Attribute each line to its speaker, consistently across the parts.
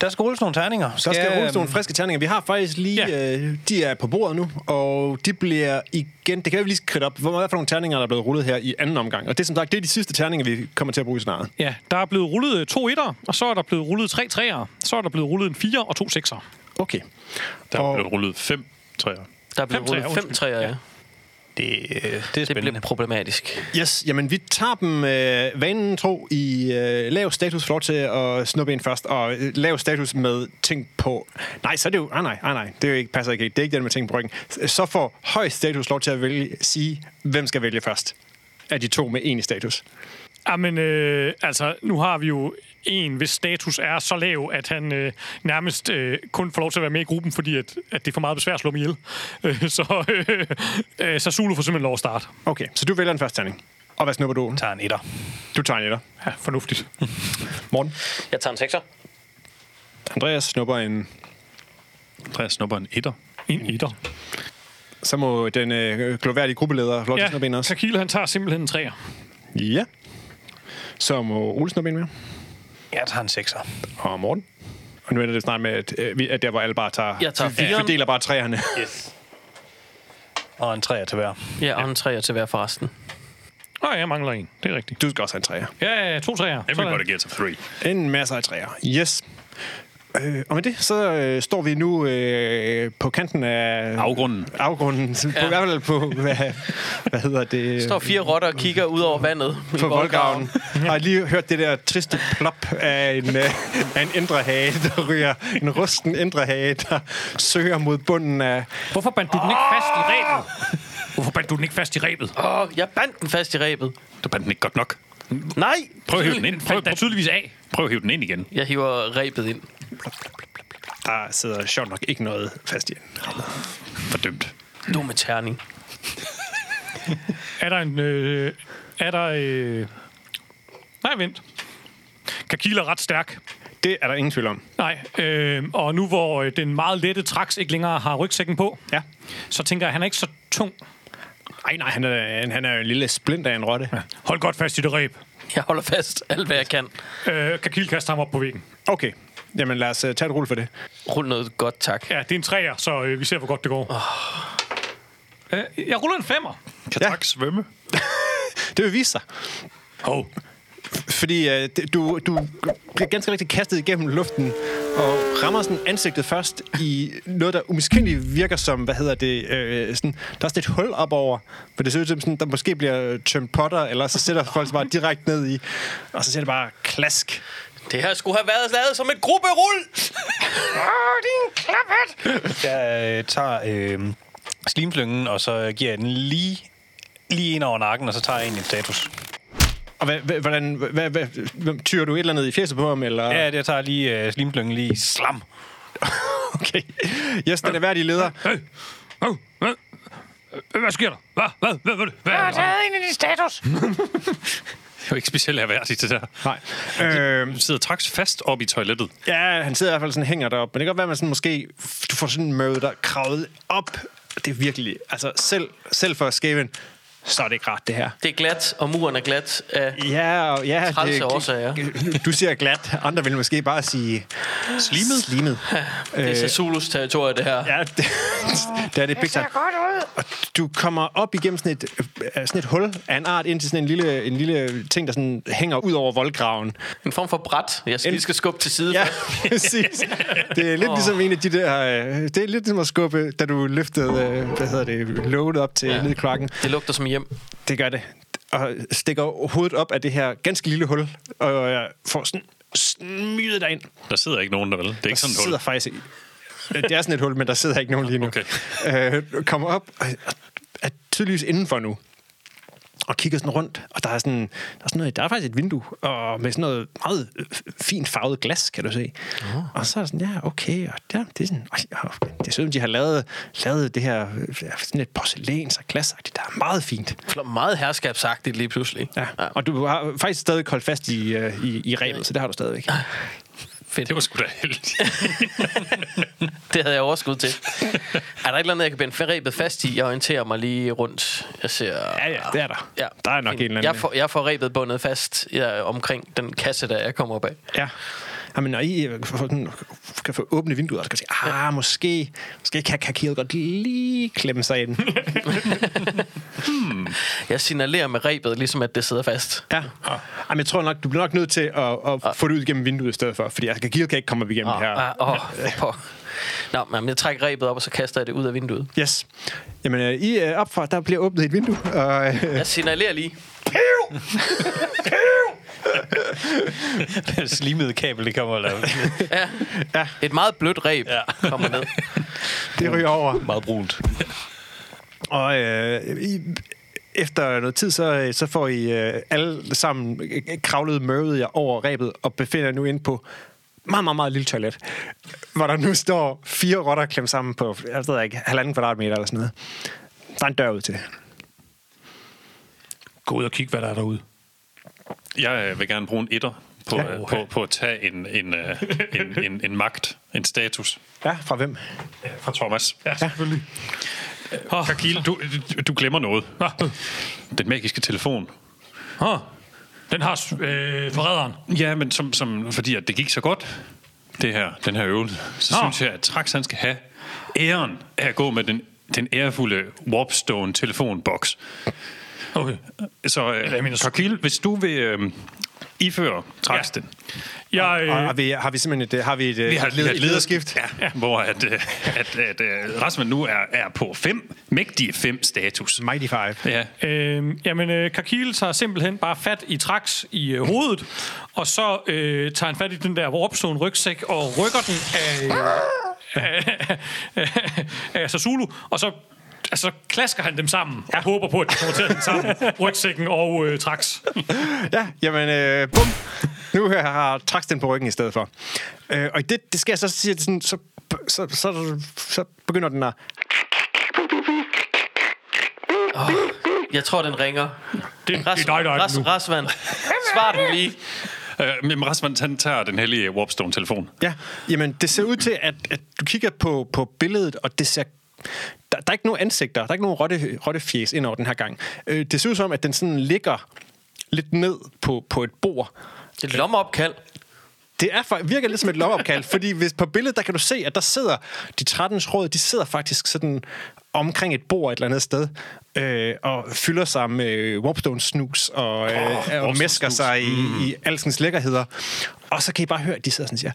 Speaker 1: Der skal rulles nogle terninger.
Speaker 2: Så skal rulles nogle friske terninger. Vi har faktisk lige...
Speaker 1: Ja.
Speaker 2: øhm, Ja. Øh, de er på bordet nu, og de bliver igen... Det kan vi lige kridte op. Hvor meget for nogle terninger, der er blevet rullet her i anden omgang. Og det er som sagt, det er de sidste terninger, vi kommer til at bruge snart.
Speaker 3: Ja, der er blevet rullet øh, to etter, og så er der blevet rullet tre treer. Så er der blevet rullet en fire og to sekser.
Speaker 2: Okay.
Speaker 4: Der
Speaker 2: Og-
Speaker 4: er blevet rullet fem træer.
Speaker 5: Der blev
Speaker 3: Fem træer,
Speaker 5: rullet fem
Speaker 3: undskyld.
Speaker 5: træer, ja.
Speaker 1: Det, øh, det er
Speaker 5: Det
Speaker 1: spændende.
Speaker 5: blev problematisk.
Speaker 2: Yes, jamen vi tager dem øh, vanen tro i øh, lav status for lov til at snuppe en først, og øh, lav status med ting på... Nej, så er det jo... Ah, nej, ah, nej, det er jo ikke, passer ikke. helt. Det er ikke den med ting på ryggen. Så får høj status lov til at vælge, sige, hvem skal vælge først af de to med en i status.
Speaker 3: Jamen, øh, altså, nu har vi jo en, hvis status er så lav, at han øh, nærmest øh, kun får lov til at være med i gruppen, fordi at, at det er for meget besvær at slå mig ihjel. Øh, så, øh, øh, så Zulu får simpelthen lov at starte.
Speaker 2: Okay, så du vælger den første terning. Og hvad snupper du?
Speaker 1: tager en etter.
Speaker 2: Du tager en etter.
Speaker 3: Ja, fornuftigt.
Speaker 2: Morten.
Speaker 5: Jeg tager en sekser.
Speaker 2: Andreas snupper en...
Speaker 4: Andreas snupper en etter.
Speaker 3: En etter.
Speaker 2: Så må den øh, gloværdige gruppeleder få lov til at snuppe en
Speaker 3: Ja,
Speaker 2: også.
Speaker 3: Kakil, han tager simpelthen en træer.
Speaker 2: Ja. Så må Ole snuppe en mere.
Speaker 1: Jeg tager en sekser.
Speaker 2: og Morten. Og nu ender det snart med, at, øh, vi- at der, hvor alle bare tager...
Speaker 5: Jeg tager
Speaker 2: vi- Vi
Speaker 5: fireren.
Speaker 2: fordeler bare træerne.
Speaker 1: Og en træer til hver.
Speaker 5: Ja, og en træer til hver for resten.
Speaker 3: Nå, jeg mangler en. Det er rigtigt.
Speaker 2: Du skal også have en træer.
Speaker 3: Ja, ja, to træer.
Speaker 4: Everybody gets a three.
Speaker 2: En masse af træer. Yes. Øh, og med det, så øh, står vi nu øh, på kanten af...
Speaker 4: Afgrunden.
Speaker 2: Afgrunden. Ja. På, I hvert fald på, hvad, hvad hedder det?
Speaker 5: står fire rotter og kigger ud over vandet. i
Speaker 2: på
Speaker 5: voldgraven.
Speaker 2: voldgraven. Har I lige hørt det der triste plop af en, øh, af en ændrehage, der ryger en rusten ændrehage, der søger mod bunden af...
Speaker 3: Hvorfor bandt du den ikke fast i rebet?
Speaker 4: Ah!
Speaker 3: Hvorfor bandt du den ikke fast i rebet?
Speaker 5: Åh, oh, jeg bandt den fast i rebet.
Speaker 4: Du bandt den ikke godt nok.
Speaker 5: Nej!
Speaker 4: Prøv at hive den ind. Prøv,
Speaker 3: Fandt da
Speaker 4: prøv,
Speaker 3: tydeligvis af.
Speaker 4: prøv at hive den ind igen.
Speaker 5: Jeg hiver rebet ind.
Speaker 2: Der sidder sjovt nok ikke noget fast i den.
Speaker 4: Fordømt.
Speaker 5: Du med terning.
Speaker 3: Er der en... Øh, er der... Øh... Nej, vent. Kakil er ret stærk.
Speaker 2: Det er der ingen tvivl om.
Speaker 3: Nej, øh, og nu hvor øh, den meget lette traks ikke længere har rygsækken på,
Speaker 2: Ja.
Speaker 3: så tænker jeg, at han er ikke så tung.
Speaker 2: Ej, nej, han er, han- han er jo en lille splint af en rotte. Ja.
Speaker 3: Hold godt fast i det reb.
Speaker 5: Jeg holder fast alt, hvad jeg kan.
Speaker 3: Øh, Kakil kaster ham op på væggen.
Speaker 2: Okay, jamen lad os uh, tage et rulle for det.
Speaker 5: Rul noget godt, tak.
Speaker 3: Ja, det er en træer, så øh, vi ser, hvor godt det går. Oh. Øh, jeg ruller en femmer.
Speaker 4: Kan
Speaker 2: Ja.
Speaker 4: tak svømme?
Speaker 2: Det vil vise sig,
Speaker 3: Hov.
Speaker 2: fordi uh, du, du bliver ganske rigtig kastet igennem luften og rammer sådan ansigtet først i noget, der umiskendeligt virker som, hvad hedder det, øh, sådan, der er sådan et hul op over, for det ser ud som, sådan, der måske bliver tømt potter, eller så sætter folk sig bare direkte ned i, og så ser det bare klask.
Speaker 5: Det her skulle have været lavet som et grupperul!
Speaker 1: Jeg øh, tager øh, slimslyngen, og så giver jeg den lige, lige ind over nakken, og så tager jeg egentlig en status.
Speaker 2: Og hvad, hvad, hvordan, hvad, hvad, hvem- tyrer du et eller andet i fjeset på ham, eller?
Speaker 1: Ja, det jeg tager lige øh, slimslyngen lige slam.
Speaker 2: Okay. Yes, den er værdig leder.
Speaker 3: Hey. Hov. Hvad? Øh, Hvad sker der? Hvad? Hvad? Hvad? Hvad? Hvad? Hvad?
Speaker 4: Det er jo ikke specielt erhvervigt, det der.
Speaker 2: Nej. Øh,
Speaker 4: Du sidder traks fast op i toilettet.
Speaker 2: Ja, han sidder i hvert fald sådan hænger derop, men det kan godt være, at man sådan måske du får sådan en møde, der kravlet op. Det er virkelig, altså selv, selv for Skaven, så er det ikke rart det her.
Speaker 5: Det er glat, og muren er glat. af
Speaker 2: Ja, og ja.
Speaker 5: Trælse årsager.
Speaker 2: Du siger glat, andre vil måske bare sige... Slimet? Slimet.
Speaker 5: det er så Zulus territorie, det her.
Speaker 2: Øh. Ja, det, det er det big time. godt ud. Og du kommer op igennem sådan et, øh, sådan et hul af en art ind til sådan en lille, en lille ting, der sådan hænger ud over voldgraven.
Speaker 5: En form for bræt, jeg skal, lige skal skubbe til side.
Speaker 2: Ja, præcis. Det er lidt ligesom en af de der... øh, Det er lidt ligesom at skubbe, da du løftede, øh, hvad hedder det, låget op til ja. ned i kloakken.
Speaker 5: Det lugter som hjem.
Speaker 2: Det gør det. Og stikker hovedet op af det her ganske lille hul, og jeg får sådan smidt dig ind.
Speaker 4: Der sidder ikke nogen der, vel? Det er ikke sådan et hul.
Speaker 2: sidder faktisk... i- Ja, Det er sådan et hul, men der sidder ikke nogen lige nu.
Speaker 4: Okay.
Speaker 2: Øh, kommer op og og er tydeligvis indenfor nu. Og kigger sådan rundt, og der er sådan, der er sådan noget, der er faktisk et vindue, og med sådan noget meget øh, fint farvet glas, kan du se. Uh. Og så er det sådan, ja, okay, og der, det er sådan, oj, og det er sådan, de har lavet, lavet det her, øh, sådan et porcelæn, så glasagtigt, der er meget fint.
Speaker 5: Flå- Meget herskabsagtigt lige pludselig.
Speaker 2: Ja. ja. Og du har faktisk stadig holdt fast i, øh, i, i reglet, så det har du stadigvæk.
Speaker 4: Det var sgu da heldigt.
Speaker 5: Det havde jeg overskud til. er der et eller andet, jeg kan binde rebet fast i? Jeg orienterer mig lige rundt. Jeg ser...
Speaker 2: Ja, ja, det er der.
Speaker 5: Ja.
Speaker 2: Der er nok en eller anden.
Speaker 5: Jeg får, jeg får rebet bundet fast ja, omkring den kasse, der jeg kommer op af.
Speaker 2: Ja. Jamen, når I øh, får sådan- kan få åbne vinduer, så kan I sige, ah, måske, måske kan Kakil godt lige klemme sig ind.
Speaker 5: Jeg signalerer med rebet, ligesom at det sidder fast.
Speaker 2: Ja. Jamen, jeg tror nok, du bliver nok nødt til at, at få det ud gennem vinduet i stedet for, fordi altså, Kakil kan ikke komme op igennem det her.
Speaker 5: Ah, ah, åh, for Nå, men jeg trækker rebet op, og så kaster jeg det ud af vinduet.
Speaker 2: Yes. Jamen, øh, I er op fra, der bliver åbnet et vindue, og øh,
Speaker 5: Jeg signalerer lige.
Speaker 1: Slimede kabel, det kommer der.
Speaker 5: Ja. ja. Et meget blødt reb ja. kommer ned.
Speaker 2: det ryger over.
Speaker 1: Meget brunt.
Speaker 2: Og øh, I, efter noget tid, så, øh, så får I øh, alle sammen øh, kravlet mørvet jer over rebet og befinder jer nu inde på meget, meget, meget lille toilet, hvor der nu står fire rotter klemt sammen på, jeg ved ikke, halvanden kvadratmeter eller sådan noget. Der er en dør ud til det.
Speaker 3: Gå ud og kig, hvad der er derude.
Speaker 4: Jeg øh, vil gerne bruge en etter på,
Speaker 2: Ja.
Speaker 4: ja. på, på at tage en, en, øh, en, en, en magt, en status
Speaker 2: Ja, fra hvem?
Speaker 4: fra Thomas. Ja.
Speaker 3: Selvfølgelig. Åh,
Speaker 4: Kakil, du, du glemmer noget.
Speaker 3: Nå.
Speaker 4: Den magiske telefon.
Speaker 3: Åh, Den har øh, forræderen.
Speaker 4: Ja, men som, som, fordi at det gik så godt, det her, den her øvelse, så
Speaker 3: Nå.
Speaker 4: synes jeg, at Trax han skal have æren af at gå med den, den ærefulde Warpstone telefonboks.
Speaker 3: Okay.
Speaker 4: Så øh,
Speaker 3: jeg mener,
Speaker 4: Kakil, hvis du vil øh, iføre Trax
Speaker 3: Ja.
Speaker 4: ja. den.
Speaker 3: Jeg,
Speaker 2: Og har
Speaker 3: øh,
Speaker 2: vi, har vi simpelthen et, har vi et, vi
Speaker 4: har-
Speaker 2: et,
Speaker 4: vi har
Speaker 2: led, et lederskift?
Speaker 4: Ja, ja. hvor at, øh, at, at, at Rasmus nu er, er på fem, mægtige fem status.
Speaker 2: Mighty Five.
Speaker 4: Ja,
Speaker 3: Øh, jamen, øh, Kakil tager simpelthen bare fat i Trax i øh, hovedet, og så øh, tager han fat i den der Warpstone rygsæk og rykker den af, af, af, af Sasulu, og så altså, klasker han dem sammen ja. og håber på, at de kommer til at hænge sammen, rygsækken og øh, Trax.
Speaker 2: Ja, jamen, øh, bum. Nu her har Trax den på ryggen i stedet for. Øh, og i det, det sker så, så, siger det sådan, så, så, så, så begynder den at...
Speaker 5: Jeg tror, den ringer.
Speaker 3: Det,
Speaker 5: Ras,
Speaker 3: det er dig, der er
Speaker 5: ras,
Speaker 3: den nu.
Speaker 5: Rasvand. Svar den lige.
Speaker 4: øh, men Rasmus han tager den hellige Warpstone-telefon.
Speaker 2: Ja, jamen, det ser ud til, at, at du kigger på, på billedet, og det ser... Der, der er ikke nogen ansigter, der er ikke nogen rotte, rottefjes ind over den her gang. Øh, det ser ud som, at den sådan ligger lidt ned på, på et bord.
Speaker 5: Et lommeopkald.
Speaker 2: Det er, fa- virker lidt som et lovopkald, fordi hvis på billedet, der kan du se, at der sidder de 13 råd, de sidder faktisk sådan omkring et bord et eller andet sted, øh, og fylder sig med øh, Warpstone-snus og, øh, oh, og mesker sig i, mm. i alskens lækkerheder. Og så kan I bare høre, at de sidder sådan og siger,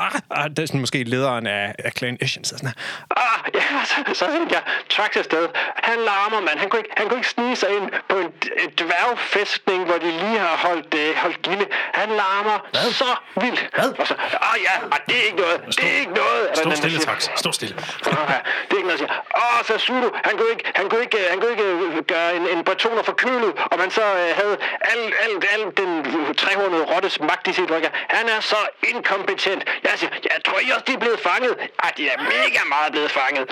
Speaker 2: ah, ah, ah, det er sådan måske lederen af, af Clan Ishin, sidder sådan her,
Speaker 6: Ah, ja, så, så sendte jeg Trax afsted. Han larmer, mand. Han kunne ikke, han kunne ikke snige sig ind på en, d- en dværgfæstning, hvor de lige har holdt, øh, holdt gilde. Han larmer Hvad? så vildt. Hvad? Og så, ah ja, ah, det er ikke noget. det er ikke noget. er der
Speaker 4: Stå
Speaker 6: den, der
Speaker 4: stille,
Speaker 6: siger.
Speaker 4: Trax. Stå stille.
Speaker 6: Okay, det er ikke noget at sige. Åh, så Zulu, han kunne ikke, han kunne ikke, han kunne ikke øh, gøre en, en bretoner for kølet, og man så øh, havde al, al, al den øh, trehornede rottes magt i sit rykker. Han er så inkompetent. Jeg siger, jeg tror I også, de er blevet fanget. Ah, de er mega meget blevet fanget.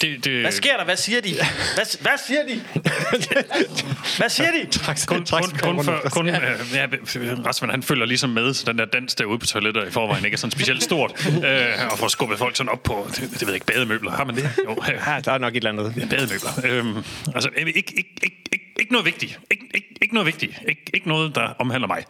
Speaker 4: Det, det,
Speaker 5: Hvad sker der? Hvad siger de? Hvad, hvad siger de? Hvad siger de?
Speaker 2: Trax,
Speaker 4: Kun, kun, kun, for, kun øh, ja, Rasmus, han følger ligesom med, så den der dans derude på toilettet i forvejen ikke er sådan specielt stort. Øh, og får skubbet folk sådan op på, det, det ved jeg ikke, bademøbler. Har man det? Jo, øh,
Speaker 2: Ja, "Ah, der er nok et eller andet.
Speaker 4: bademøbler. Øhm, altså, øh, ikke, ikke, ikke, ikke, ikke noget vigtigt. Ikke, ikke, ikke noget vigtigt. Ikke, ikke noget, der omhandler mig.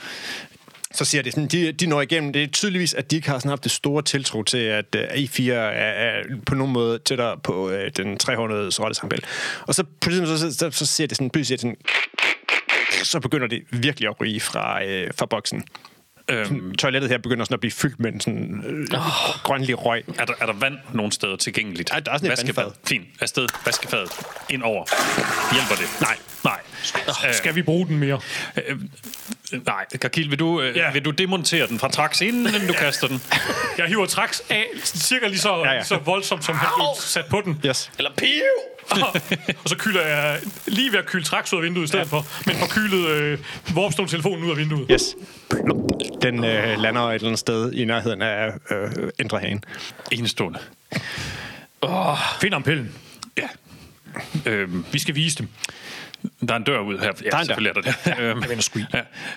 Speaker 2: så siger det sådan, de, de når igennem. Det er tydeligvis, at de ikke har sådan haft det store tiltro til, at uh, I4 er, er på nogen måde tættere på uh, den 300 sorte sangbæl. Og så pludselig så, så, så, så ser det sådan, pludselig siger det sådan, så begynder det virkelig at ryge fra, øh, fra boksen.
Speaker 4: Øhm,
Speaker 2: Toilettet her begynder sådan at blive fyldt med en sådan øh, oh. grønlig røg.
Speaker 4: er, der, er der vand nogen steder tilgængeligt?
Speaker 2: Ja, der er sådan et
Speaker 4: Vaskefad.
Speaker 2: vandfad.
Speaker 4: Fint. Afsted. Vaskefadet. Ind over. Hjælper det? Nej. Nej. Øh,
Speaker 3: Skal vi bruge den mere?
Speaker 4: Øh, nej, Kakil, vil du, øh,
Speaker 3: Ja.
Speaker 4: ja. vil du demontere den fra traks, inden du kaster den?
Speaker 3: Jeg hiver Trax af, cirka lige så, ja,
Speaker 2: Ja,
Speaker 3: ja.
Speaker 2: ja.
Speaker 3: så voldsomt, som han blev sat på den.
Speaker 2: Yes.
Speaker 5: Eller piv!
Speaker 3: og så kylder jeg lige ved at kylde Trax ud af vinduet i stedet ja. for, men får kylet øh, Warpstone-telefonen ud af vinduet.
Speaker 2: Yes. Plump. Den øh, lander et eller andet sted i nærheden af øh, Indre Hagen.
Speaker 4: Enestående.
Speaker 3: Find ham pillen.
Speaker 4: Ja. Øhm,
Speaker 3: Vi skal vise dem.
Speaker 4: der er en dør ud her. Ja, der
Speaker 2: dør.
Speaker 4: er selvfølgelig er der det. Ja, øhm,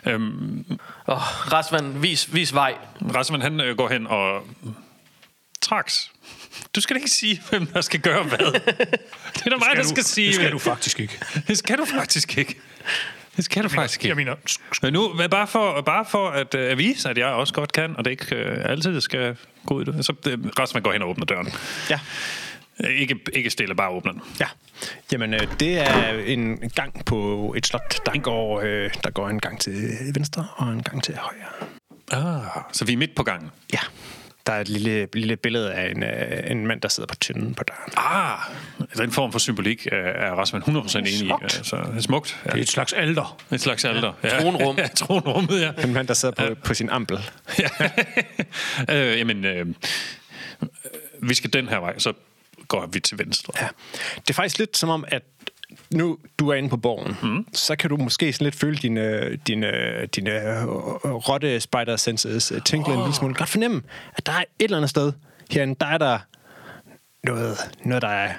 Speaker 4: ja. øhm,
Speaker 5: Oh, Rasvand, vis, vis vej.
Speaker 4: Rasmus, han øh, går hen og... Trax, du skal da ikke sige, hvem der skal gøre hvad. Det er da mig, der skal sige. øh,
Speaker 3: Det skal du faktisk ikke.
Speaker 4: Det skal du faktisk ikke. Det skal du faktisk
Speaker 3: Jeg
Speaker 4: ikke.
Speaker 3: mener, sk- sk-
Speaker 4: Men nu, men bare for, bare for at øh, at vise, at jeg også godt kan, og det ikke øh, altid skal gå ud i det. Så det, Rasmus går hen og åbner døren.
Speaker 2: Ja.
Speaker 4: Øh, Ikke, ikke stille, bare åbner den.
Speaker 2: Ja. Jamen, øh, det er en gang på et slot, der går, øh, der går en gang til venstre og en gang til højre.
Speaker 4: Ah, så vi er midt på gangen.
Speaker 2: Ja. Der er et lille, lille billede af en, øh, en mand, der sidder på tynden på døren.
Speaker 4: Ah, den form for symbolik øh, er Rasmus 100% enig i. øh,
Speaker 2: Smukt.
Speaker 4: Så det er smukt. Ja.
Speaker 3: det er et slags alder.
Speaker 4: Et slags alder. Ja.
Speaker 5: Tronrum.
Speaker 4: Ja, tronrummet, ja.
Speaker 2: En mand, der sidder på, på sin ampel.
Speaker 4: ja. øh, jamen, øh, vi skal den her vej, så går vi til venstre.
Speaker 2: Ja. Det er faktisk lidt som om, at nu du er inde på borgen, mm. så kan du måske sådan lidt føle dine, dine, dine øh, rotte spider senses øh, tinkle oh. en lille smule. Godt fornemme, at der er et eller andet sted herinde, der er der noget, noget der er,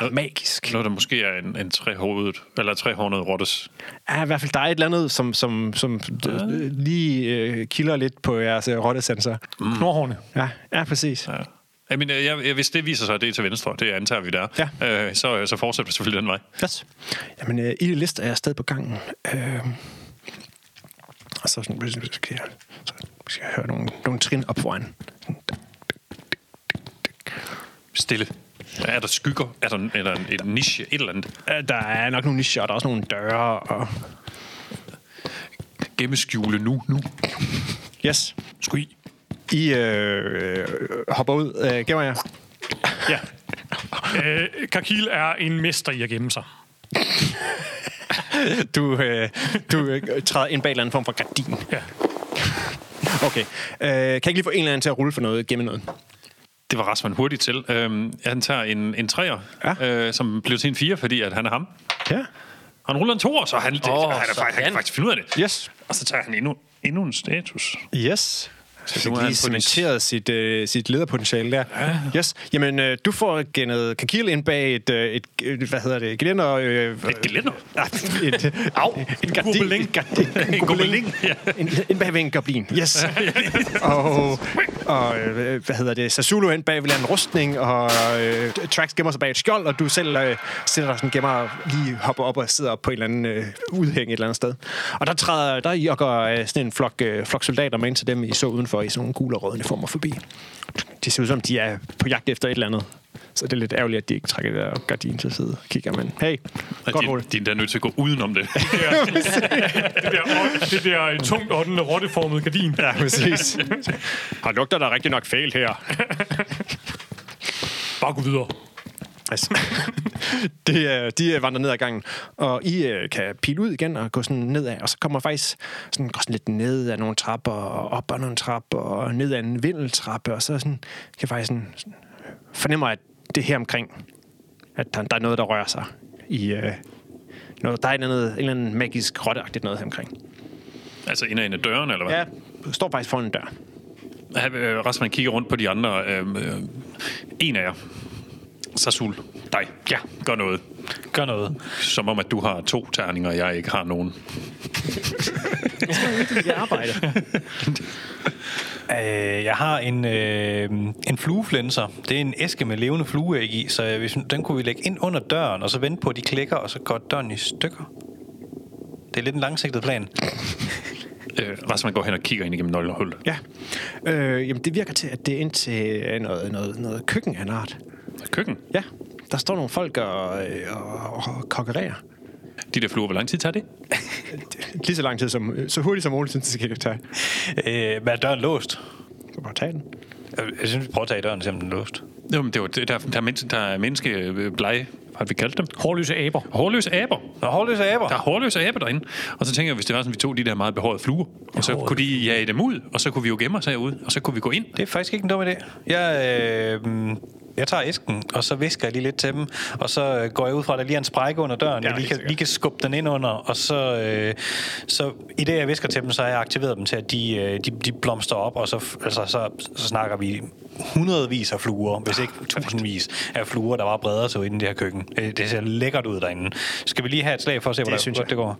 Speaker 2: der er magisk.
Speaker 4: Noget, der måske er en, en trehovedet, eller trehårnet rottes.
Speaker 2: Ja, i hvert fald, der er et eller andet, som, som, som øh, lige øh, kilder lidt på jeres øh, rottesensor.
Speaker 3: Mm. Knorhårene.
Speaker 2: Ja, ja, præcis.
Speaker 4: Ja. Jamen, øh, jeg, jeg, hvis det viser sig, at det er til venstre, det antager vi, der er, øh, så, så fortsætter vi selvfølgelig den vej.
Speaker 2: Yes. Jamen, øh, i det liste er jeg stadig på gangen. Øh, og så, sådan, så skal, jeg, så skal jeg høre nogle, nogle trin op foran.
Speaker 4: Stille. Er der skygger? Er der, en- er der en, en niche? Et eller andet?
Speaker 2: Øh, Der er nok nogle nicher, og der er også nogle døre. Og...
Speaker 4: Gemmeskjule nu, nu.
Speaker 2: Yes.
Speaker 3: Sku i.
Speaker 2: I øh, øh, hopper ud. Øh, gemmer jer.
Speaker 3: Ja. Øh, Kakil er en mester i at gemme sig.
Speaker 2: Du, øh, du øh, træder ind bag en eller anden form for gardin.
Speaker 3: Ja.
Speaker 2: Okay. Øh, kan jeg ikke lige få en eller anden til at rulle for noget, gemme noget?
Speaker 4: Det var Rasmus hurtigt til. Øhm, han tager en, en træer,
Speaker 2: Ja.
Speaker 4: ja. øh, som blev til en fire, fordi at han er ham.
Speaker 2: Ja.
Speaker 4: Han ruller en toer, så han, det,
Speaker 5: Åh,
Speaker 4: oh, han, er,
Speaker 5: sådan.
Speaker 4: faktisk, han kan faktisk finde ud af det.
Speaker 2: Yes.
Speaker 4: Og så tager han endnu, endnu en status.
Speaker 2: Yes. Så
Speaker 4: nu
Speaker 2: fik lige
Speaker 4: er han på den-
Speaker 2: cementeret sit, øh, sit lederpotentiale der. Ja. Yes. Jamen, øh, du får genet Kakil ind bag et, øh, et, et hvad hedder det, gelænder... Øh,
Speaker 4: Et gelænder?
Speaker 2: Ah, et, Au, en gardin.
Speaker 4: gobeling.
Speaker 2: En gardin. En
Speaker 4: gobeling, ja.
Speaker 2: En, ind bag ved en goblin. Yes. og, og øh, hvad hedder det? Sasulu ind bag ved en rustning, og øh, Trax gemmer sig bag et skjold, og du selv øh, sidder der sådan gemmer og lige hopper op og sidder op på en eller anden øh, udhæng et eller andet sted. Og der træder, der jokker øh, sådan en flok, øh, flok soldater med ind til dem, I så udenfor i sådan nogle gule og rødne former forbi. De ser ud som, de er på jagt efter et eller andet. Så det er lidt ærgerligt, at de ikke trækker der gardin til side og kigger, men hey,
Speaker 4: Og
Speaker 2: godt
Speaker 4: de,
Speaker 2: roligt.
Speaker 4: de er da nødt til at gå udenom det.
Speaker 3: Det der, ånd- det der øh, tungt åndende rotteformede gardin. Ja.
Speaker 2: Præcis. Har lugter der rigtig nok fejl her.
Speaker 3: Bare gå videre.
Speaker 2: Altså, det, er- de øh, vandrer ned ad gangen, og I øh, kan pile ud igen og gå sådan nedad, og så kommer faktisk sådan, går sådan lidt ned ad nogle trapper, og op ad nogle trapper, og ned ad en vindeltrappe, og så sådan, kan jeg faktisk sådan, sådan, fornemmer, at det er her omkring, at der, der er noget, der rører sig i... Øh, noget, der er en eller, anden, en eller anden magisk rotteagtigt noget her omkring.
Speaker 4: altså ind ad en af dørene, eller hvad?
Speaker 2: Ja, står faktisk foran en dør.
Speaker 4: Ja. Øh, Rasmus kigger rundt på de andre. Øh, øh, en af jer. Sasul. Dig. Ja. Gør noget.
Speaker 1: Gør noget.
Speaker 4: Som om, at du har to terninger, og jeg ikke har nogen.
Speaker 2: Jeg arbejder.
Speaker 1: Øh, jeg har en, øh, en flueflænser. Det er en æske med levende flueæg i, så jeg, hvis, den kunne vi lægge ind under døren, og så vente på, at de klikker, og så går døren i stykker. Det er lidt en langsigtet plan.
Speaker 4: Øh, Rasmus går hen og kigger ind igennem nøglehullet.
Speaker 2: Ja. Øh, jamen, det virker til, at det er ind til øh, noget, noget, noget køkken af en art.
Speaker 4: Køkken.
Speaker 2: Ja, der står nogle folk og, øh, og, og kokkererer.
Speaker 4: De der fluer, hvor lang tid tager det?
Speaker 2: Lige så lang tid som, øh, så hurtigt som muligt, synes jeg, det kan tage.
Speaker 1: Øh, men er døren låst? Øh,
Speaker 2: Du kan bare tage den.
Speaker 1: Jeg, jeg synes, vi prøver at tage i døren, og se om den er låst.
Speaker 4: Jo, men det var, det- der, der, er menneske, der er menneskebleje, har vi kaldt dem.
Speaker 3: Hårløse aber.
Speaker 4: Hårløse aber.
Speaker 1: Nå, hårløse aber.
Speaker 4: Der er hårløse aber derinde. Og så tænker jeg, hvis det var sådan, at vi tog de der meget behårede fluer, og så kunne de jage dem ud, og så kunne vi jo gemme os herude, og så kunne vi gå ind.
Speaker 1: Det er faktisk ikke en dum idé. Jeg, øh, mm, jeg tager æsken, og så visker jeg lige lidt til dem, og så øh, går jeg ud fra, at der lige er en sprække under døren, ja, jeg lige
Speaker 2: helt
Speaker 1: kan,
Speaker 2: sikkert.
Speaker 1: lige kan skubbe den ind under, og så, øh, så i det, jeg visker til dem, så har jeg aktiveret dem til, at de, øh, de, de blomster op, og så, f- altså, så, så snakker vi hundredvis af fluer, hvis ikke
Speaker 2: Ah,
Speaker 1: tusindvis af fluer, der var breder sig inde i det her køkken. Øh, Det ser lækkert ud derinde. Skal vi lige have et slag for at se, hvordan
Speaker 2: synes
Speaker 1: det,
Speaker 2: jeg.
Speaker 1: det går?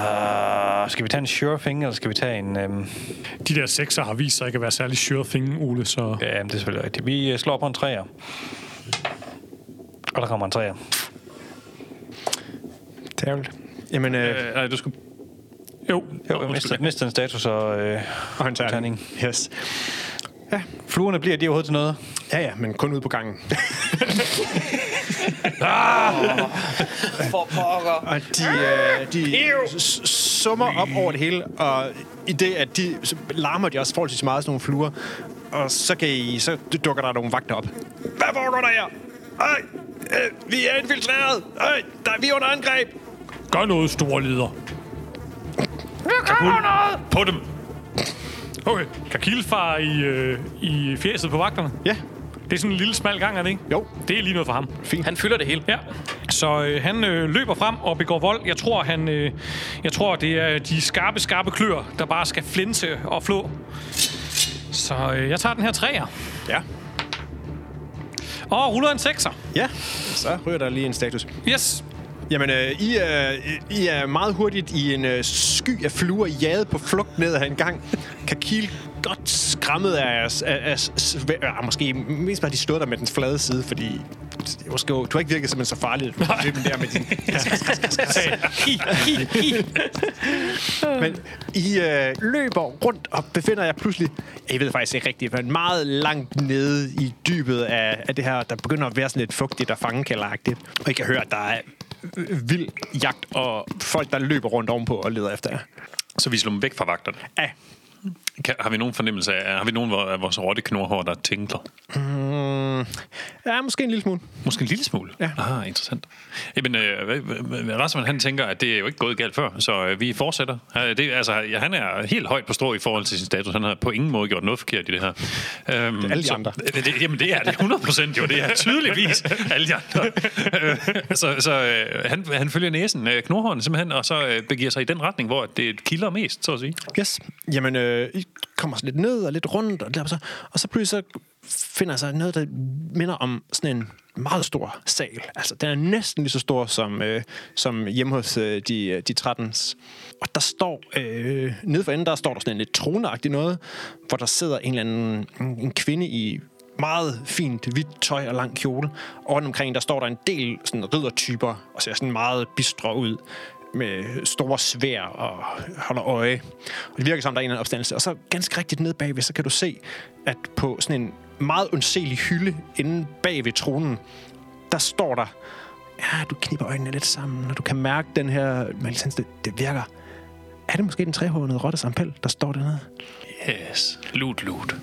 Speaker 1: Uh, skal vi tage en sure thing, eller skal vi tage en... Øh,
Speaker 3: De der sekser har vist sig ikke at være særlig sure thing, Ole, så...
Speaker 1: Ja, men det er selvfølgelig rigtigt. Vi øh, slår på en træer. Og der kommer en træer.
Speaker 2: Tærligt. Jamen, øh,
Speaker 4: Øh, nej, du skal
Speaker 3: Jo.
Speaker 1: Jo, jeg mister, mister en status og, øh,
Speaker 2: Og en terning. Yes.
Speaker 1: Fluerne bliver de overhovedet til noget?
Speaker 2: Ja, ja, men kun ude på gangen.
Speaker 5: For pokker.
Speaker 2: Og de, øh, de s- summer op over det hele, og i det, at de så larmer de også forholdsvis meget sådan nogle fluer, og så, kan I, så dukker der nogle vagter op. Hvad foregår der her? Øj, øh, vi er infiltreret! Øj, der, vi er under angreb!
Speaker 3: Gør noget, store leder.
Speaker 4: På dem!
Speaker 3: Okay. Kakil far i, øh, i fjeset på vagterne.
Speaker 2: Ja,
Speaker 3: Det er sådan en lille smal gang, er det ikke?
Speaker 2: Jo.
Speaker 3: Det er lige noget for ham.
Speaker 5: Han fylder det hele.
Speaker 3: Ja. Så øh, han øh, løber frem og begår vold. Jeg tror, han, øh, jeg tror, det er de skarpe, skarpe klør, der bare skal flinse og flå. Så øh, jeg tager den her træer.
Speaker 2: ja,
Speaker 3: Og ruller en sekser.
Speaker 2: ja. Så ryger der lige en status.
Speaker 3: Yes.
Speaker 2: Jamen, øh, I, er, I er meget hurtigt i en øh, sky af fluer, jaget på flugt ned ad en gang. Kakil godt skræmmet af, jeres- af, af, af, af måske mest bare de stod der med den flade side, fordi måske, du har ikke virket simpelthen så farligt, at du har løbet der med din... Men I øh, løber rundt og befinder jer pludselig, jeg ved faktisk ikke rigtigt, men meget langt nede i dybet af, af det her, der begynder at være sådan lidt fugtigt og fangekælderagtigt. Og I kan høre, at der er øh, vild jagt og folk, der løber rundt ovenpå og leder efter jer.
Speaker 4: Så vi slår dem væk fra vagterne.
Speaker 2: Ja,
Speaker 4: Kan, har vi nogen fornemmelse af, har vi nogen hvor- af vores rotte knorhår, der tinkler?
Speaker 2: Mm, ja måske en lille smule.
Speaker 4: Måske en lille smule?
Speaker 2: Ja.
Speaker 4: Ah, interessant. Jamen, øh, hvad- hvad- hvad Rasmus, han tænker, at det er jo ikke gået galt før, så øh, vi fortsætter. Han, det, altså, ja, han er helt højt på strå i forhold til sin status. Han har på ingen måde gjort noget forkert i det her. Øhm, det er
Speaker 2: alle de andre.
Speaker 4: Det, det, jamen, det er det 100 procent jo. Det er tydeligvis alle de andre. Øh, så så øh, han, han følger næsen, øh, knorhånden simpelthen, og så øh, begiver sig i den retning, hvor det kilder mest, så at sige.
Speaker 2: Yes. Jamen, øh, I kommer sådan lidt ned og lidt rundt, og, der, så, og så pludselig så finder sig noget, der minder om sådan en meget stor sal. Altså, den er næsten lige så stor som, øh, som hjemme hos øh, de, øh, de 13's. Og der står, øh, nede for enden, der står der sådan en lidt troneagtig noget, hvor der sidder en eller anden en, en kvinde i meget fint hvidt tøj og lang kjole. Og rundt omkring, der står der en del sådan riddertyper, og ser sådan meget bistre ud med store svær og holder øje. Og det virker som, der er en eller anden opstandelse. Og så ganske rigtigt nede bagved, så kan du se, at på sådan en meget undselig hylde inde bag ved tronen, der står der, ja, du knipper øjnene lidt sammen, og du kan mærke den her, men det, det virker. Er det måske den trehårede rotte sampel, der står dernede?
Speaker 4: Yes. Loot, loot.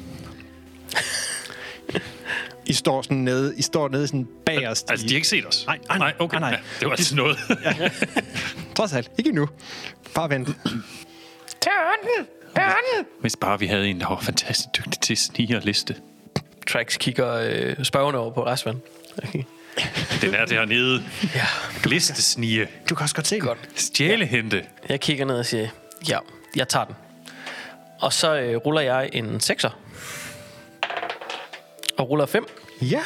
Speaker 2: I står sådan nede, I står nede sådan bagerst.
Speaker 4: Altså, de har ikke set os?
Speaker 2: Nej, nej,
Speaker 4: nej okay.
Speaker 2: nej, nej.
Speaker 4: Ja, det var altid noget.
Speaker 2: Trods alt, ikke endnu. Bare vent.
Speaker 4: Hvis bare vi havde en, der var fantastisk dygtig til snigerliste.
Speaker 5: Trax kigger øh, spørgende over på Rasmus. Okay.
Speaker 4: Den er dernede.
Speaker 5: Ja.
Speaker 4: Liste snige.
Speaker 2: Du kan også godt se det.
Speaker 5: Godt.
Speaker 4: Stjælehente.
Speaker 5: Jeg kigger ned og siger, ja, jeg tager den. Og så øh, ruller jeg en sekser. Og ruller 5.
Speaker 2: Ja.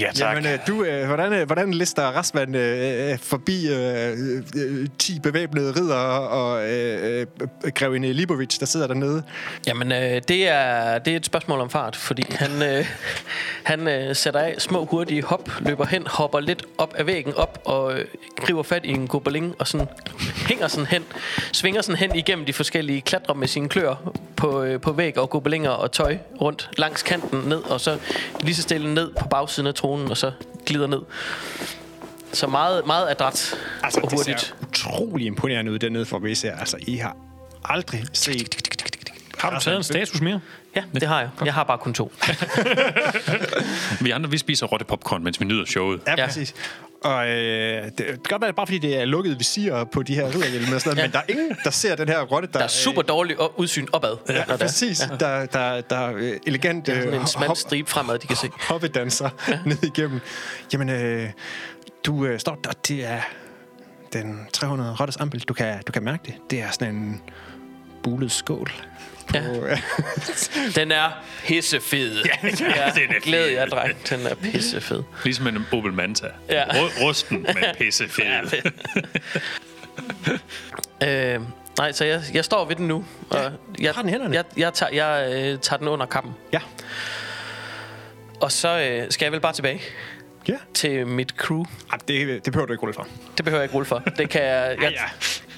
Speaker 1: Ja,
Speaker 2: Jamen, øh, du, øh, hvordan, øh, hvordan lister Rasman øh, øh, forbi øh, øh, 10 bevæbnede riddere og øh, øh, grevinde Libovic, der sidder dernede?
Speaker 5: Jamen, øh, det, er, det er et spørgsmål om fart, fordi han, øh, han øh, sætter af små hurtige hop, løber hen, hopper lidt op af væggen op og øh, griber fat i en gobelin og sådan hænger sådan hen, svinger sådan hen igennem de forskellige klatre med sine klør på, øh, på væg og gobelinger og tøj rundt langs kanten ned, og så lige så stille ned på bagsiden af tronen, og så glider ned. Så meget, meget adræt altså, og
Speaker 2: det
Speaker 5: hurtigt.
Speaker 2: ser utrolig imponerende ud dernede for vi ser. Altså, I har aldrig set... Altså,
Speaker 3: Har du taget en status mere?
Speaker 5: Ja, det har jeg. Jeg har bare kun to.
Speaker 4: Vi andre, vi spiser rotte popcorn, mens vi nyder showet.
Speaker 2: Ja,
Speaker 5: Ja.
Speaker 2: præcis. Og øh, det, det kan godt være, det er bare fordi det er lukket visirer på de her ridderhjelme og sådan noget,
Speaker 5: Ja.
Speaker 2: men der er ingen, der ser den her rotte, der...
Speaker 5: Der er super dårligt udsyn opad. når
Speaker 2: Ja,
Speaker 5: der-
Speaker 2: præcis. Der, der, der er øh, elegant øh,
Speaker 5: Sådan en smal
Speaker 2: hop-
Speaker 5: stribe fremad, de kan se.
Speaker 2: hoppedanser ned igennem. Jamen, øh, du øh, står der, det er den 300 rottes ampel. Du kan, du kan mærke det. Det er sådan en bulet skål. På, øh,
Speaker 5: Ja.
Speaker 2: ja.
Speaker 5: Den er pissefed. Ja,
Speaker 4: den er
Speaker 5: Glæd
Speaker 4: fed.
Speaker 5: jer, dreng. Den er pissefed.
Speaker 4: Ligesom en Opel Manta.
Speaker 5: Ja.
Speaker 4: Ru- Rusten, men pisse fed.
Speaker 5: øh, nej, så jeg, jeg står ved den nu. Og jeg,
Speaker 2: har den i hænderne.
Speaker 5: Jeg, jeg, tager, jeg øh, tager den under kappen.
Speaker 2: ja.
Speaker 5: Og så øh, skal jeg vel bare tilbage.
Speaker 2: Ja.
Speaker 5: til mit crew.
Speaker 2: Ej, det, det behøver du ikke rulle fra.
Speaker 5: Det behøver jeg ikke rulle for. Det kan jeg, jeg,
Speaker 2: ja.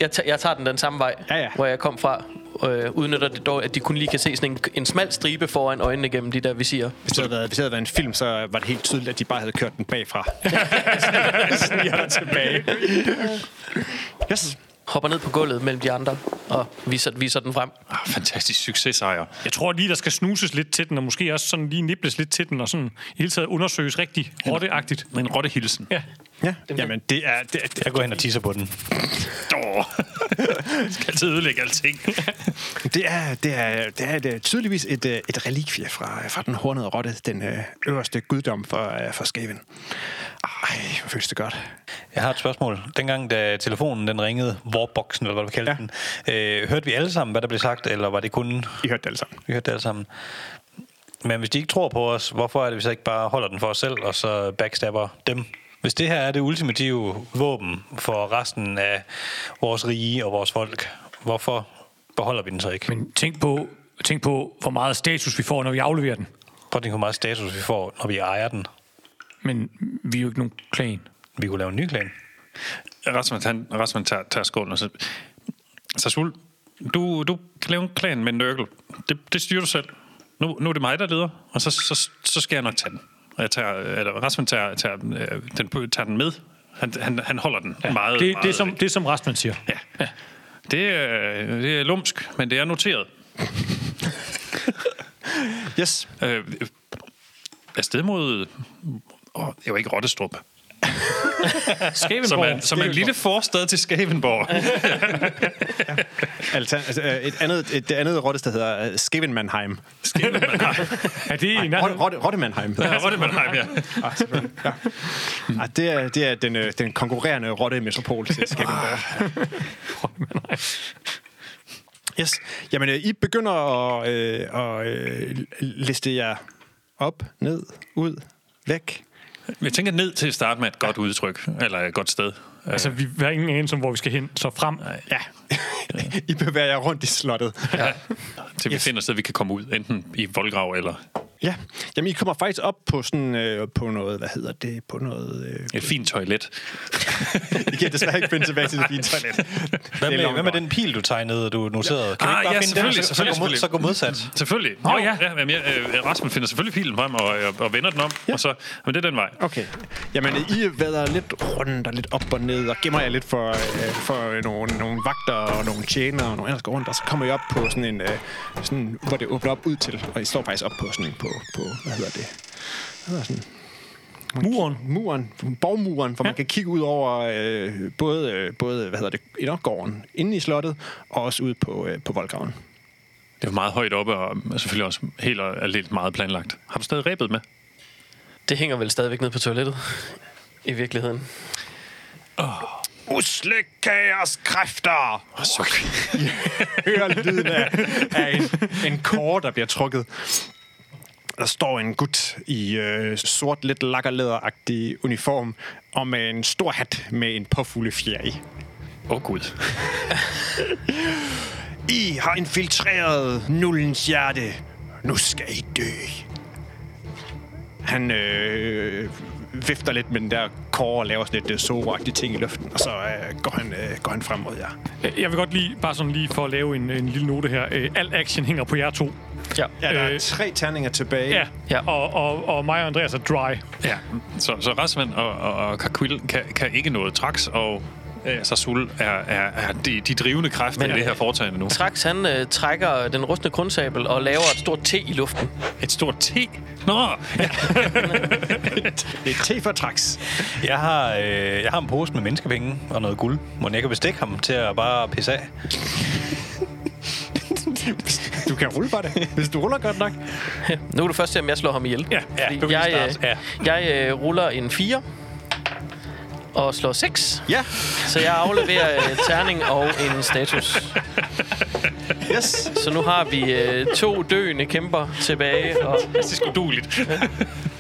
Speaker 5: jeg, ta- jeg tager den den samme vej,
Speaker 2: Ja, ja.
Speaker 5: hvor jeg kom fra. Øh, udnytter det dog, at de kun lige kan se sådan en, en smal stribe foran øjnene gennem de der visirer.
Speaker 2: Hvis det havde været, hvis det havde været en film, så var det helt tydeligt, at de bare havde kørt den bagfra. Sniger dig tilbage. Yes.
Speaker 5: Hopper ned på gulvet mellem de andre og viser, viser den frem.
Speaker 4: Ah, fantastisk succesejr.
Speaker 3: Jeg tror lige, der skal snuses lidt til den, og måske også sådan lige nibles lidt til den, og sådan i det hele taget undersøges rigtig rotteagtigt.
Speaker 4: En rottehilsen.
Speaker 3: Ja.
Speaker 2: Ja, jamen det er... Det, er- det,
Speaker 1: Jeg går hen og tisser på den.
Speaker 4: Åh, skal altid ødelægge alting.
Speaker 2: Det er, det er, det er et, øh, tydeligvis et, øh, et relikvie fra, fra den hornede rotte, den øh, øverste guddom for, øh, for Skaven. Ej, hvor føles det godt.
Speaker 1: Jeg har et spørgsmål. Dengang, da telefonen den ringede, Warboxen, eller hvad du kaldte
Speaker 2: Ja.
Speaker 1: ja. den, øh, hørte vi alle sammen, hvad der blev sagt, eller var det kun...
Speaker 2: I hørte det alle sammen.
Speaker 1: Vi hørte det alle sammen. Men hvis de ikke tror på os, hvorfor er det, vi så ikke bare holder den for os selv, og så backstabber dem? Hvis det her er det ultimative våben for resten af vores rige og vores folk, hvorfor beholder vi den så ikke?
Speaker 3: Men tænk på, tænk på, hvor meget status vi får, når vi afleverer den.
Speaker 1: Prøv at tænke, hvor meget status vi får, når vi ejer den.
Speaker 3: Men vi er jo ikke nogen klan.
Speaker 1: Vi kunne lave en ny klan.
Speaker 4: Rasmus, han, Rasmus tager, tager skålen og så... Sasul, du, du kan lave en klan med en nørkel. Det, det styrer du selv. Nu, nu er det mig, der leder, og så, så, så skal jeg nok tage den. Og jeg tager, eller Rasmus tager, tager, øh, den, på- tager den med. Han, han, han holder den ja, meget,
Speaker 3: Det,
Speaker 4: meget
Speaker 3: det, er som, det er som Rasmus siger.
Speaker 4: Øh, Ja. ja. Det, er, det er lumsk, men det er noteret.
Speaker 2: Yes.
Speaker 4: Øh, afsted mod... Åh, det var ikke Rottestrup. Som er,
Speaker 3: Skævenborg.
Speaker 4: som er en lille forstad til Skavenborg.
Speaker 2: Alter, altså, øh, et andet, et, det andet rottested hedder øh, Skavenmannheim.
Speaker 3: Er det i
Speaker 2: Rotte,
Speaker 3: nærheden?
Speaker 2: rotte, Rottemannheim. hedder det.
Speaker 4: Rottemanheim, ja.
Speaker 2: Ah, selvfølgelig. ja. Ah, det, er, det er den, øh, den konkurrerende rottemetropol til Skavenborg. Yes. Jamen, øh, I begynder at, øh, at øh, liste jer op, ned, ud, væk.
Speaker 4: Jeg tænker ned til at starte med et godt udtryk, eller et godt sted. øh,
Speaker 3: Altså, vi har ingen anelse om, hvor vi skal hen. Så frem.
Speaker 2: Ja. I bevæger jer rundt i slottet.
Speaker 4: Ja. Til vi yes. finder et sted, vi kan komme ud, enten i voldgrav eller
Speaker 2: Ja. Jamen, I kommer faktisk op på sådan øh, på noget, hvad hedder det, på noget... Øh,
Speaker 4: et fint toilet.
Speaker 2: I kan desværre ikke finde tilbage til det fine toilet.
Speaker 1: Hvad
Speaker 2: Det er
Speaker 1: med,
Speaker 2: langt
Speaker 1: hvad med
Speaker 2: nok.
Speaker 1: den pil, du tegnede, og du noterede? Kan vi
Speaker 4: Ah,
Speaker 1: ikke bare
Speaker 4: ja,
Speaker 1: finde den, og
Speaker 4: selvfølgelig,
Speaker 1: så, så,
Speaker 4: selvfølgelig,
Speaker 1: gå mod,
Speaker 4: selvfølgelig.
Speaker 1: så gå modsat?
Speaker 4: Selvfølgelig.
Speaker 3: Nå,
Speaker 4: Jo,
Speaker 3: ja.
Speaker 4: ja jamen, jeg, øh, Rasmus finder selvfølgelig pilen frem og, øh, og, og vender den om, ja. og så... Men det er den vej.
Speaker 2: Okay. Jamen, I vader lidt rundt og lidt op og ned, og gemmer jer lidt for, øh, for nogle, nogle vagter og nogle tjener og nogle andre, der går rundt, og så kommer I op på sådan en, øh, sådan, hvor det åbner op ud til, og I står faktisk op på sådan en, på, på hvad hedder det? Hvad hedder sådan?
Speaker 3: Muren.
Speaker 2: muren, borgmuren, hvor ja. man kan kigge ud over øh, både, øh, både hvad hedder det, indopgården inde i slottet, og også ud på, øh, på voldgraven.
Speaker 4: Det er jo meget højt oppe, og selvfølgelig også helt og aldeles meget planlagt. Har du stadig rebet med?
Speaker 5: Det hænger vel stadigvæk ned på toilettet i virkeligheden.
Speaker 2: Usle kaos kræfter!
Speaker 4: Så,
Speaker 2: Hører lyden af, af en, en kår, der bliver trukket. Der står en gut i øh, sort, lidt lakkerlæderagtig uniform, og med en stor hat med en påfugle fjer i.
Speaker 4: Åh, oh, Gud.
Speaker 2: I har infiltreret nullens hjerte. Nu skal I dø. Han øh, vifter lidt med den der kår og laver sådan lidt øh, soveragtige ting i luften, og så øh, går, han, øh, går han frem mod jer.
Speaker 3: Jeg vil godt lige, bare sådan lige for at lave en, en lille note her. Øh, Al action hænger på jer to.
Speaker 5: Ja.
Speaker 2: Ja, der er
Speaker 3: Øh.
Speaker 2: tre terninger tilbage.
Speaker 3: Ja.
Speaker 5: Ja.
Speaker 3: Og, og, og mig og Andreas er dry.
Speaker 4: Ja, så, så Rasmus og, og, og Kakvil kan, kan ikke noget traks, og øh, Sasul er, er, er de, de drivende kræfter Men, i det her foretagende nu.
Speaker 5: Trax, han øh, trækker den rustne grundsabel og laver et stort T i luften.
Speaker 4: Et stort T. Nå, ja.
Speaker 2: Det er T for traks.
Speaker 1: Jeg har, øh, jeg har en pose med menneskepenge og noget guld, hvor jeg kan bestikke ham til at bare pisse af.
Speaker 2: Du kan rulle for det, hvis du ruller godt nok.
Speaker 5: Nu er du først se, om jeg slår ham ihjel.
Speaker 1: Ja, ja,
Speaker 5: Fordi
Speaker 1: du kan lige
Speaker 5: jeg, øh,
Speaker 1: starte.
Speaker 5: jeg øh, ruller en 4 og slår 6.
Speaker 2: Ja,
Speaker 5: Så jeg afleverer øh, terning og en status.
Speaker 2: yes.
Speaker 5: Så nu har vi øh, to døende kæmper tilbage. Og
Speaker 4: fantastisk uduligt.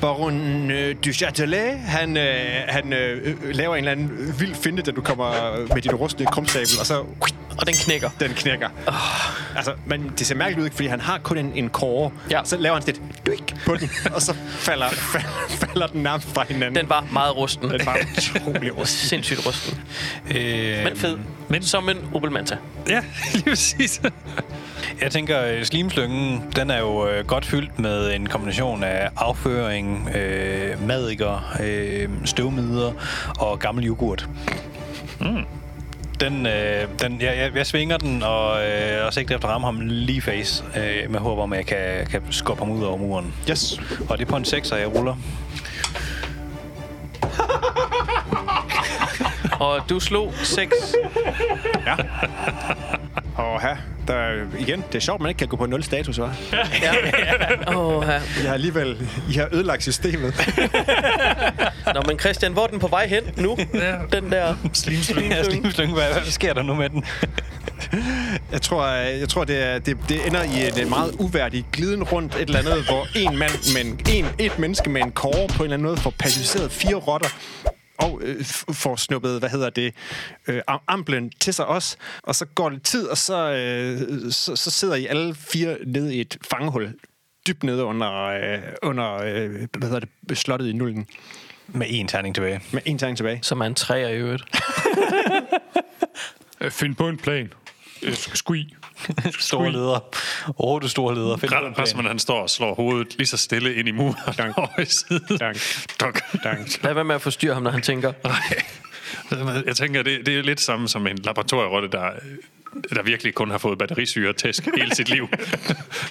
Speaker 2: Baron øh, du Châtelet, han, øh, han øh, øh, laver en eller anden vild finte, da du kommer med dit rustne krumstabel, og så
Speaker 5: Og den knækker.
Speaker 2: den knækker. Oh. Altså, men det ser mærkeligt ud, ikke? fordi han har kun en, en kåre.
Speaker 5: Ja.
Speaker 2: Så laver han sådan et duik, på den, og så falder, falder, falder den nærmest fra hinanden.
Speaker 5: Den var meget rusten.
Speaker 2: den var utrolig rust.
Speaker 5: Sindssygt rusten.
Speaker 1: Øh,
Speaker 5: Men fed. Øhm, Men... Som en Opel Manta.
Speaker 4: Ja, lige præcis.
Speaker 1: Jeg tænker, øh, slimslyngen, den er jo øh, godt fyldt med en kombination af afføring, øh, madikker, øh, støvmider og gammel yoghurt. Mm. Den, øh, den, jeg, jeg, jeg svinger den og, øh, og sigter efter at ramme ham lige i face øh, med håb om, at jeg kan, kan skubbe ham ud over muren.
Speaker 2: Yes.
Speaker 1: Og det er på en 6, jeg ruller.
Speaker 5: Og du slog 6.
Speaker 2: Og her, der, igen, det er sjovt, man ikke kan gå på nul status, hva'?
Speaker 5: Ja. Oh, ja.
Speaker 2: Jeg har alligevel, I har ødelagt systemet.
Speaker 5: Nå, men Christian, hvor er den på vej hen nu? Den der...
Speaker 1: Slimslyngen. ja, slimslyngen. Hvad, hvad sker der nu med den?
Speaker 2: Jeg tror, jeg tror det, er, det, det ender i en øh, meget uværdig gliden rundt et eller andet, hvor en mand med en, en, et menneske med en kåre på en eller anden måde får pacificeret fire rotter og øh, f- får snuppet, hvad hedder det, øh, am- amplen til sig også. Og så går det tid, og så, øh, så, så sidder I alle fire nede i et fangehul dybt nede under, øh, under øh, hvad hedder det, slottet i nullen.
Speaker 1: Med en terning tilbage.
Speaker 2: Med en tanke tilbage.
Speaker 5: Som er en træer i øvrigt.
Speaker 3: Øh, Find på en plan. Øh, sk- Skui.
Speaker 1: Store leder. Åh, oh, du store leder. Find
Speaker 4: Ret og man, han står og slår hovedet lige så stille ind i muren.
Speaker 2: Dank.
Speaker 4: over i siden.
Speaker 2: Dank.
Speaker 4: Dunk. Dank.
Speaker 5: Lad være med at forstyrre ham, når han tænker.
Speaker 4: Nej. Jeg tænker, det, det er lidt samme som en laboratorierotte, der, der virkelig kun har fået batterisyre og tæsk hele sit liv.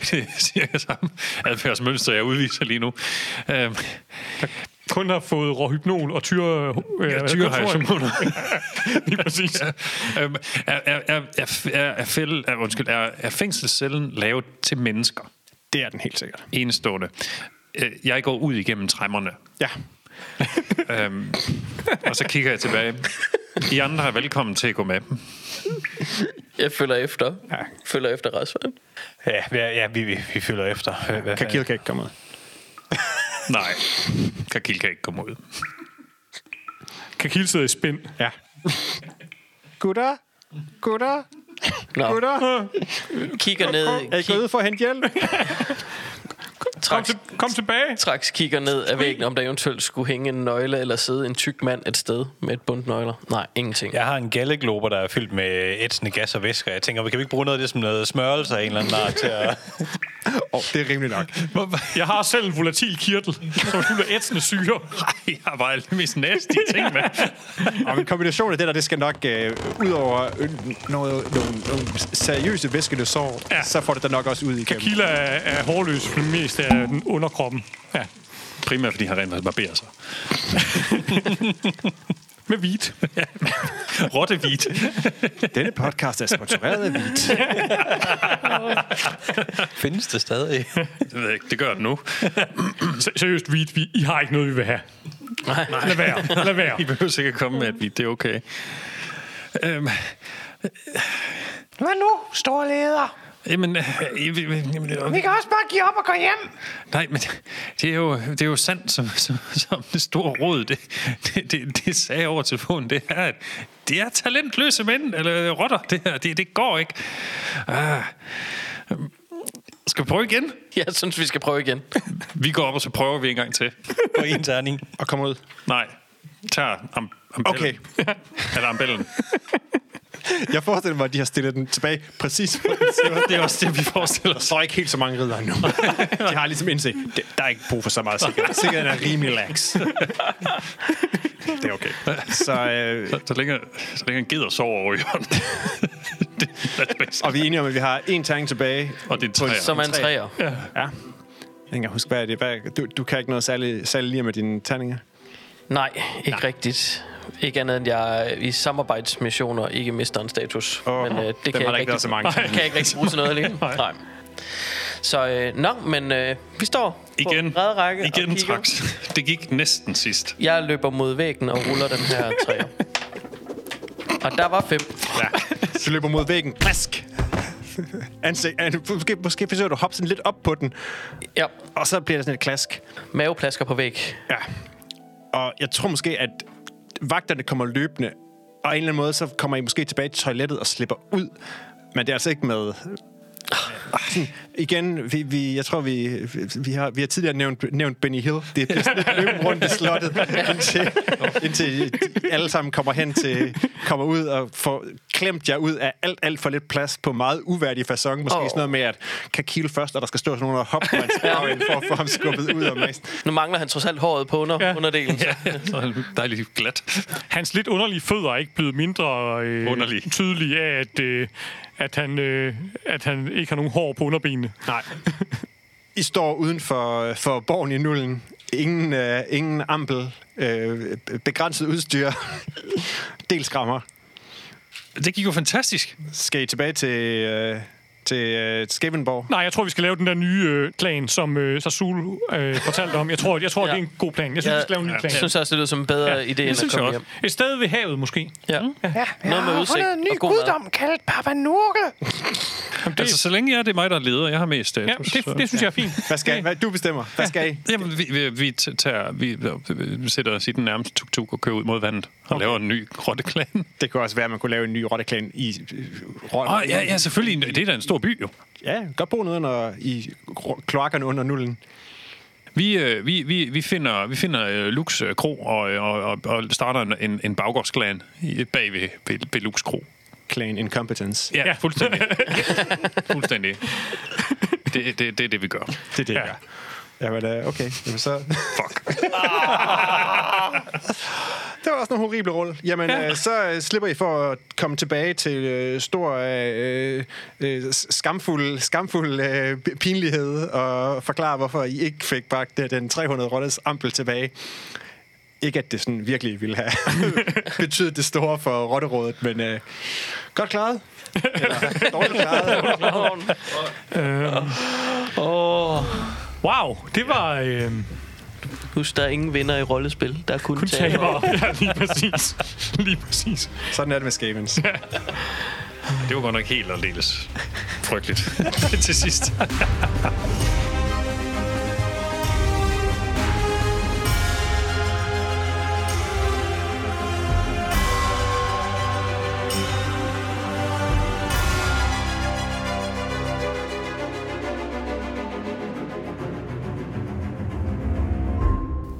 Speaker 4: det er cirka samme adfærdsmønster, jeg udviser lige nu. Øhm,
Speaker 3: Kun har fået råhypnol og tyre... Øh,
Speaker 4: ja, tyre har jeg som
Speaker 3: kontor- Lige præcis.
Speaker 4: Øhm, er, er, er, er, er, er, fæld, er, undskyld, er, er fængselscellen lavet til mennesker?
Speaker 2: Det er den helt sikkert.
Speaker 4: Enestående. Øh, Jeg går ud igennem træmmerne,
Speaker 2: Ja.
Speaker 4: øhm, og så kigger jeg tilbage. I andre er velkommen til at gå med.
Speaker 5: Jeg følger efter. Følger efter Rasmus.
Speaker 1: Ja, ja, ja vi, vi, vi følger efter. Hvad- hvad-
Speaker 2: Kakil kan ikke komme ud.
Speaker 4: Nej, Kakil kan ikke komme ud.
Speaker 3: Kakil sidder i spænd.
Speaker 2: Ja. Gutter? Gutter?
Speaker 5: Nå,
Speaker 2: Gutter?
Speaker 5: kigger ned.
Speaker 2: Er I
Speaker 5: Kig,
Speaker 2: gået ud for at hente hjælp?
Speaker 3: Kom,
Speaker 5: traks,
Speaker 3: til, kom tilbage.
Speaker 5: traks kigger ned af væggen, om der eventuelt skulle hænge en nøgle eller sidde en tyk mand et sted med et bundt nøgler. Nej, ingenting. Ja.
Speaker 1: Jeg har en galleglober, der er fyldt med ætsende gas og væsker. Jeg tænker, kan vi ikke bruge noget af det som noget smørelse af en eller anden art til at...
Speaker 2: Åh, oh, det er rimeligt nok.
Speaker 3: Jeg har selv en volatil kirtel, som er fuld af ætsende syre.
Speaker 4: Jeg har bare alle de mest næste ting med.
Speaker 2: Og en kombination af det der, det skal nok øh, ud over øh, noget, nogle, nogle seriøse væskende sår, ja.
Speaker 3: Ja.
Speaker 2: så får det da nok også ud igennem.
Speaker 3: Kakil er, er hårløs, for det meste af den underkroppen. Ja.
Speaker 4: Primært fordi han rent faktisk barberer sig.
Speaker 3: Med hvidt.
Speaker 4: Rottevit.
Speaker 2: Denne podcast er sponsoreret af Vit.
Speaker 1: Findes det stadig?
Speaker 4: Det ved jeg ikke, det gør det nu.
Speaker 3: Se- Seriøst, hvidt. Vi, I har ikke noget, vi vil have.
Speaker 5: Nej.
Speaker 3: Lad være. Lad være.
Speaker 4: I behøver sikkert komme med, at vi, det er okay. Øhm,
Speaker 7: Hvad nu, store leder?
Speaker 4: jamen, øh, øh, øh, øh, øh,
Speaker 7: Vi kan også bare give op og gå hjem.
Speaker 4: nej, men det er jo, det er jo sandt, som, som, som det store råd, det, det, det, det sagde over telefonen, det er, at det er talentløse mænd, eller øh, rotter, det her, det, det går ikke. Ah, Øhm, skal vi prøve igen?
Speaker 5: Jeg synes, vi skal prøve igen.
Speaker 4: Vi går op, og så prøver vi en gang til.
Speaker 1: På en terning.
Speaker 2: Og kom ud.
Speaker 4: Nej, tager am, ambellen.
Speaker 2: Okay.
Speaker 4: Eller ambellen.
Speaker 2: Jeg forestiller mig, at de har stillet den tilbage præcis på den side.
Speaker 4: Det er også det, vi forestiller
Speaker 2: Der
Speaker 4: os.
Speaker 2: står ikke helt så mange ridder nu. De har ligesom indset, det- der er ikke brug for så meget sikkerhed. Sikkerheden er rimelig lax. Det er okay. Så, øh,
Speaker 4: Så, så, længe, så længe han gider sove over i hånden. det er det bedste.
Speaker 2: og vi er enige om, at vi har en tanke tilbage.
Speaker 4: Og det er en træer.
Speaker 5: Som er en træer.
Speaker 2: Ja. Jeg kan ikke huske, hvad er det hvad, du, du kan ikke noget særligt, særligt lige med dine tanninger.
Speaker 5: Nej, ikke Nej. rigtigt. Ikke andet end jeg øh, i samarbejdsmissioner ikke mister en status. øh,
Speaker 2: Åh, dem
Speaker 5: det
Speaker 2: har der ikke været så mange.
Speaker 5: Nej, kan jeg ikke rigtig bruge til noget alene. Nej. Nej. Så øh, nå, men øh, vi står
Speaker 4: Igen,
Speaker 5: på række række og
Speaker 4: igen
Speaker 5: kigger.
Speaker 4: traks. Det gik næsten sidst.
Speaker 5: Jeg løber mod væggen og ruller den her træer. og der var fem.
Speaker 2: Ja. Du løber mod væggen. Plask! Ansigt, an, måske, måske forsøger du at hoppe sådan lidt op på den,
Speaker 5: Ja,
Speaker 2: og så bliver der sådan et klask.
Speaker 5: maveplasker på væg.
Speaker 2: Ja. Og jeg tror måske, at vagterne kommer løbende, og af en eller anden måde, så kommer I måske tilbage til toilettet og slipper ud. Men det er altså ikke med Sådan, igen, vi, vi, jeg tror, vi, vi- vi, har, vi har tidligere nævnt, nævnt Benny Hill. Det er sådan et løb rundt i slottet, indtil, indtil de alle sammen kommer hen til, kommer ud og får klemt jer ud af alt, alt for lidt plads på meget uværdig façon. Måske oh. sådan
Speaker 5: Åh.
Speaker 2: noget med, at Kakil først, og der skal stå sådan nogen og hoppe på hans bagend for at få ham skubbet ud af mæsten.
Speaker 5: Nu mangler han trods alt håret på under, ja. underdelen. Så.
Speaker 4: Så er han dejligt glat.
Speaker 3: Hans lidt underlige fødder er ikke blevet mindre øh,
Speaker 4: Underlige.
Speaker 3: tydelige af, at, øh, at, han, øh, at han ikke har nogen hår på underbenene.
Speaker 2: Nej. I står uden for, for borgen i nullen. Ingen, øh, ingen ampel. Øh, begrænset udstyr. Dels skrammer.
Speaker 4: Det gik jo fantastisk.
Speaker 2: Skal I tilbage til, øh, til øh, Skavenborg?
Speaker 3: Nej, jeg tror, vi skal lave den der nye øh, plan, som øh, Sassoul øh, fortalte om. Jeg tror, jeg tror ja.
Speaker 5: Ja.
Speaker 3: det er en god plan. Jeg synes, ja. vi skal lave en ny plan.
Speaker 5: Jeg synes også, det lyder som en bedre ja. idé,
Speaker 4: det
Speaker 5: end at
Speaker 4: synes jeg
Speaker 5: komme
Speaker 4: også.
Speaker 5: hjem.
Speaker 3: Et sted ved havet, måske.
Speaker 5: Ja.
Speaker 7: Ja, jeg
Speaker 5: Noget med
Speaker 7: har
Speaker 5: udsigt
Speaker 7: fundet en ny
Speaker 5: og god mad.
Speaker 7: guddom kaldt Papa Nurgle.
Speaker 4: Jamen, det... Altså, så længe jeg er, det er mig, der er leder. Jeg har mest status.
Speaker 3: Ja, det, det synes jeg er fint.
Speaker 2: Hvad skal, hvad, du bestemmer. Hvad skal I?
Speaker 4: Jamen, vi, vi, vi, t- tager, vi, vi sætter os i den nærmeste tuk-tuk og kører ud mod vandet og okay. laver en ny rotteklan.
Speaker 2: Det kunne også være, at man kunne lave en ny rotteklan i øh,
Speaker 4: Åh,
Speaker 2: rot.
Speaker 4: oh, ja, ja, selvfølgelig. Det er da en stor by, jo.
Speaker 2: Ja, godt bo noget under, i ro- kloakkerne under nullen.
Speaker 4: Vi, øh, vi, vi, vi finder, vi finder øh, Lux øh, Kro og, øh, og, og, og starter en, en, en baggårdsklan i- bag ved, ved, ved Lux Kro.
Speaker 2: Clan Incompetence.
Speaker 4: Ja, ja. fuldstændig. fuldstændig. Det, det, det er det, vi gør.
Speaker 2: Det er det, jeg ja. gør. Jamen, øh, okay. Jamen, så...
Speaker 4: Fuck.
Speaker 2: Det var også nogle horrible rulle. Jamen, ja. øh, så øh, slipper I for at komme tilbage til øh, stor øh, øh, s- skamfuld, skamfuld øh, p- pinlighed og forklare, hvorfor I ikke fik bragt øh, den 300 rottes ampel tilbage. Ikke, at det sådan virkelig ville have betydet det store for rotterådet, men øh, godt klaret. Eller dårligt klaret.
Speaker 3: Wow, det var øh,
Speaker 5: Husk, der er ingen vinder i rollespil. Der er kun,
Speaker 3: kun
Speaker 5: kun tabere.
Speaker 3: tabere. Ja, lige præcis. Lige præcis.
Speaker 2: Sådan er det med skavens.
Speaker 4: Det var godt nok helt aldeles frygteligt til sidst.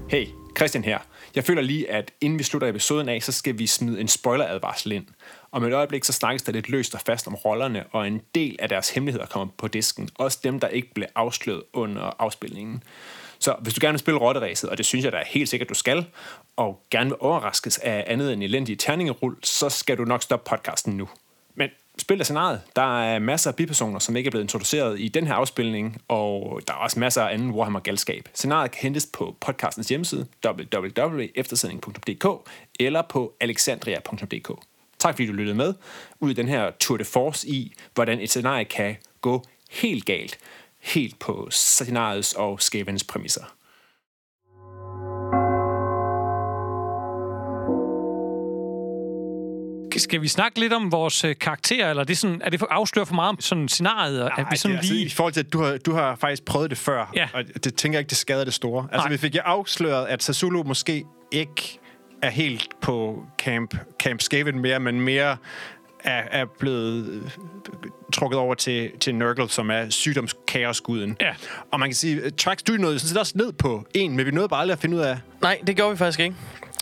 Speaker 8: Hey, Christian her. Jeg føler lige, at inden vi slutter episoden af, så skal vi smide en spoileradvarsel ind. Om et øjeblik, så snakkes der lidt løst og fast om rollerne, og en del af deres hemmeligheder kommer på disken. Også dem, der ikke blev afsløret under afspilningen. Så hvis du gerne vil spille rotteræset, og det synes jeg da helt sikkert, du skal, og gerne vil overraskes af andet end elendige terningerul, så skal du nok stoppe podcasten nu. Men spil af scenariet. Der er masser af bipersoner, som ikke er blevet introduceret i den her afspilning, og der er også masser af anden Warhammer-galskab. Scenariet kan hentes på podcastens hjemmeside www.eftersidning.dk eller på alexandria.dk. Tak fordi du lyttede med ud i den her tour de force i, hvordan et scenarie kan gå helt galt, helt på scenariets og skæbens præmisser.
Speaker 3: Skal vi snakke lidt om vores øh, karakterer, eller er det, sådan, er det for, afslører for meget om sådan scenariet? Nej, er vi sådan
Speaker 2: Ej, det er
Speaker 3: lige...
Speaker 2: Altså, I forhold til, at du har, du har faktisk prøvet det før,
Speaker 3: Ja.
Speaker 2: og det tænker jeg ikke, det skader det store. Altså,
Speaker 3: Nej.
Speaker 2: vi fik jo afsløret, at Sasulu måske ikke er helt på Camp, camp Skaven mere, men mere er, er blevet øh, trukket over til, til Nurgle, som er sygdomskaosguden.
Speaker 3: Ja.
Speaker 2: Og man kan sige, at Trax, du nåede sådan set også ned på en, men vi nåede bare aldrig at finde ud af...
Speaker 5: Nej, det gjorde vi faktisk ikke.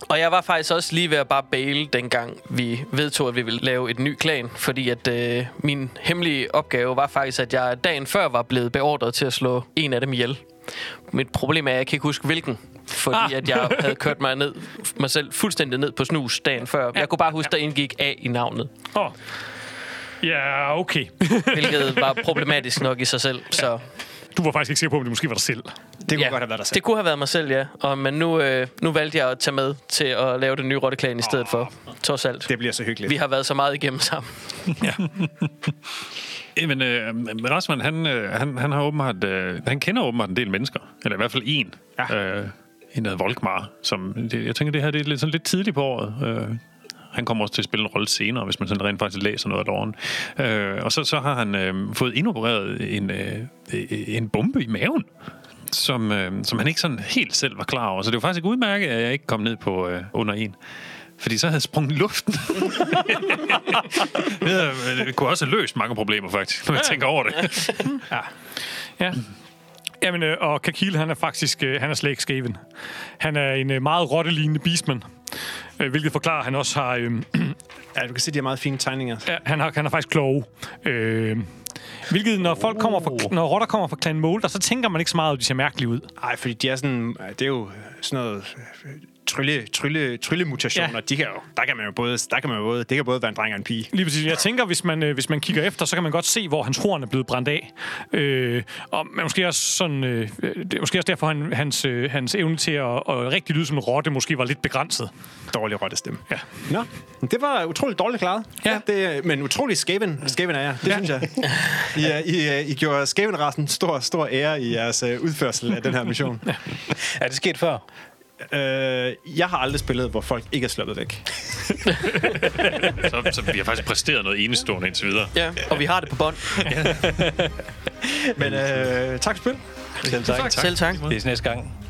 Speaker 5: Og jeg var faktisk også lige ved at bare bail, dengang vi vedtog, at vi ville lave et ny klan. Fordi at øh, min hemmelige opgave var faktisk, at jeg dagen før var blevet beordret til at slå en af dem ihjel. Mit problem er, at jeg kan ikke huske hvilken. Fordi
Speaker 3: Ah.
Speaker 5: ah. at jeg havde kørt mig, ned, mig selv fuldstændig ned på snus dagen før. Jeg kunne bare huske, der indgik A i navnet.
Speaker 3: Åh. Ja, okay.
Speaker 5: Hvilket var problematisk nok i sig selv. Så
Speaker 3: Du var faktisk ikke sikker på, om det måske var dig selv.
Speaker 2: Det kunne ja. godt have været dig selv.
Speaker 5: Det kunne have været mig selv, ja. Og, men nu, øh, nu valgte jeg at tage med til at lave den nye rotteklan i stedet for.
Speaker 2: Ah.
Speaker 5: Trods alt.
Speaker 2: Det bliver så hyggeligt.
Speaker 5: Vi har været så meget igennem sammen.
Speaker 4: Jamen, øh, Rasmus, han, øh, han, han, har åbenbart, øh, han kender åbenbart en del mennesker. Eller i hvert fald en.
Speaker 2: Ja.
Speaker 4: Øh, en af Volkmar. Som, det, jeg tænker, det her det er lidt, sådan lidt tidligt på året. Øh, han kommer også til at spille en rolle senere, hvis man sådan rent faktisk læser noget af loven. Øh, og så, så har han øh, fået indopereret en, øh, øh, en bombe i maven, som, øh, som han ikke sådan helt selv var klar over. Så det var faktisk udmærket, at jeg ikke kom ned på øh, under en. Fordi så havde jeg sprunget i luften. det, havde, det kunne også have løst mange problemer, faktisk, når jeg tænker over det.
Speaker 3: Ja. Jamen, øh, og Kakil, han er faktisk øh, han er slet ikke skæven. Han er en øh, meget rottelignende beastman, øh, hvilket forklarer, at han også har... Øh,
Speaker 2: Ja, du kan se, de har meget fine tegninger.
Speaker 3: ja, han har, han er faktisk kloge. Øh, hvilket, når, folk kommer fra, når rotter kommer fra Clan Molder, så tænker man ikke så meget, at de ser mærkelige ud.
Speaker 2: Nej, fordi de er sådan, det er jo sådan noget øh, trylle, trylle, tryllemutationer.
Speaker 3: Ja.
Speaker 2: Ja. De kan jo, der kan man jo både, der kan man jo både, det kan både være en dreng og en pige.
Speaker 3: Lige præcis. Jeg tænker, hvis man, øh, hvis man kigger efter, så kan man godt se, hvor hans horn er blevet brændt af. Øh, og man måske også sådan, øh, det er måske også derfor, han, hans, øh, hans evne til at, at rigtig lyde som en rotte måske var lidt begrænset.
Speaker 2: Dårlig rottestemme.
Speaker 3: Ja.
Speaker 2: Nå, men det var utroligt dårligt klaret.
Speaker 3: Ja.
Speaker 2: Det, øh, men utroligt skæven, skæven er jeg. Det ja. synes jeg. I, øh, I, øh, I gjorde skævenrassen stor, stor ære i jeres øh, udførsel af den her mission. Ja.
Speaker 1: Er det sket før?
Speaker 2: Øh, jeg har aldrig spillet, hvor folk ikke er sluppet væk.
Speaker 4: Så, så vi har faktisk præsteret noget enestående indtil videre.
Speaker 5: Ja, og vi har det på bånd.
Speaker 2: Men øh, tak for spil.
Speaker 1: Selv tak.
Speaker 5: Selv tak.
Speaker 1: Det er næste gang.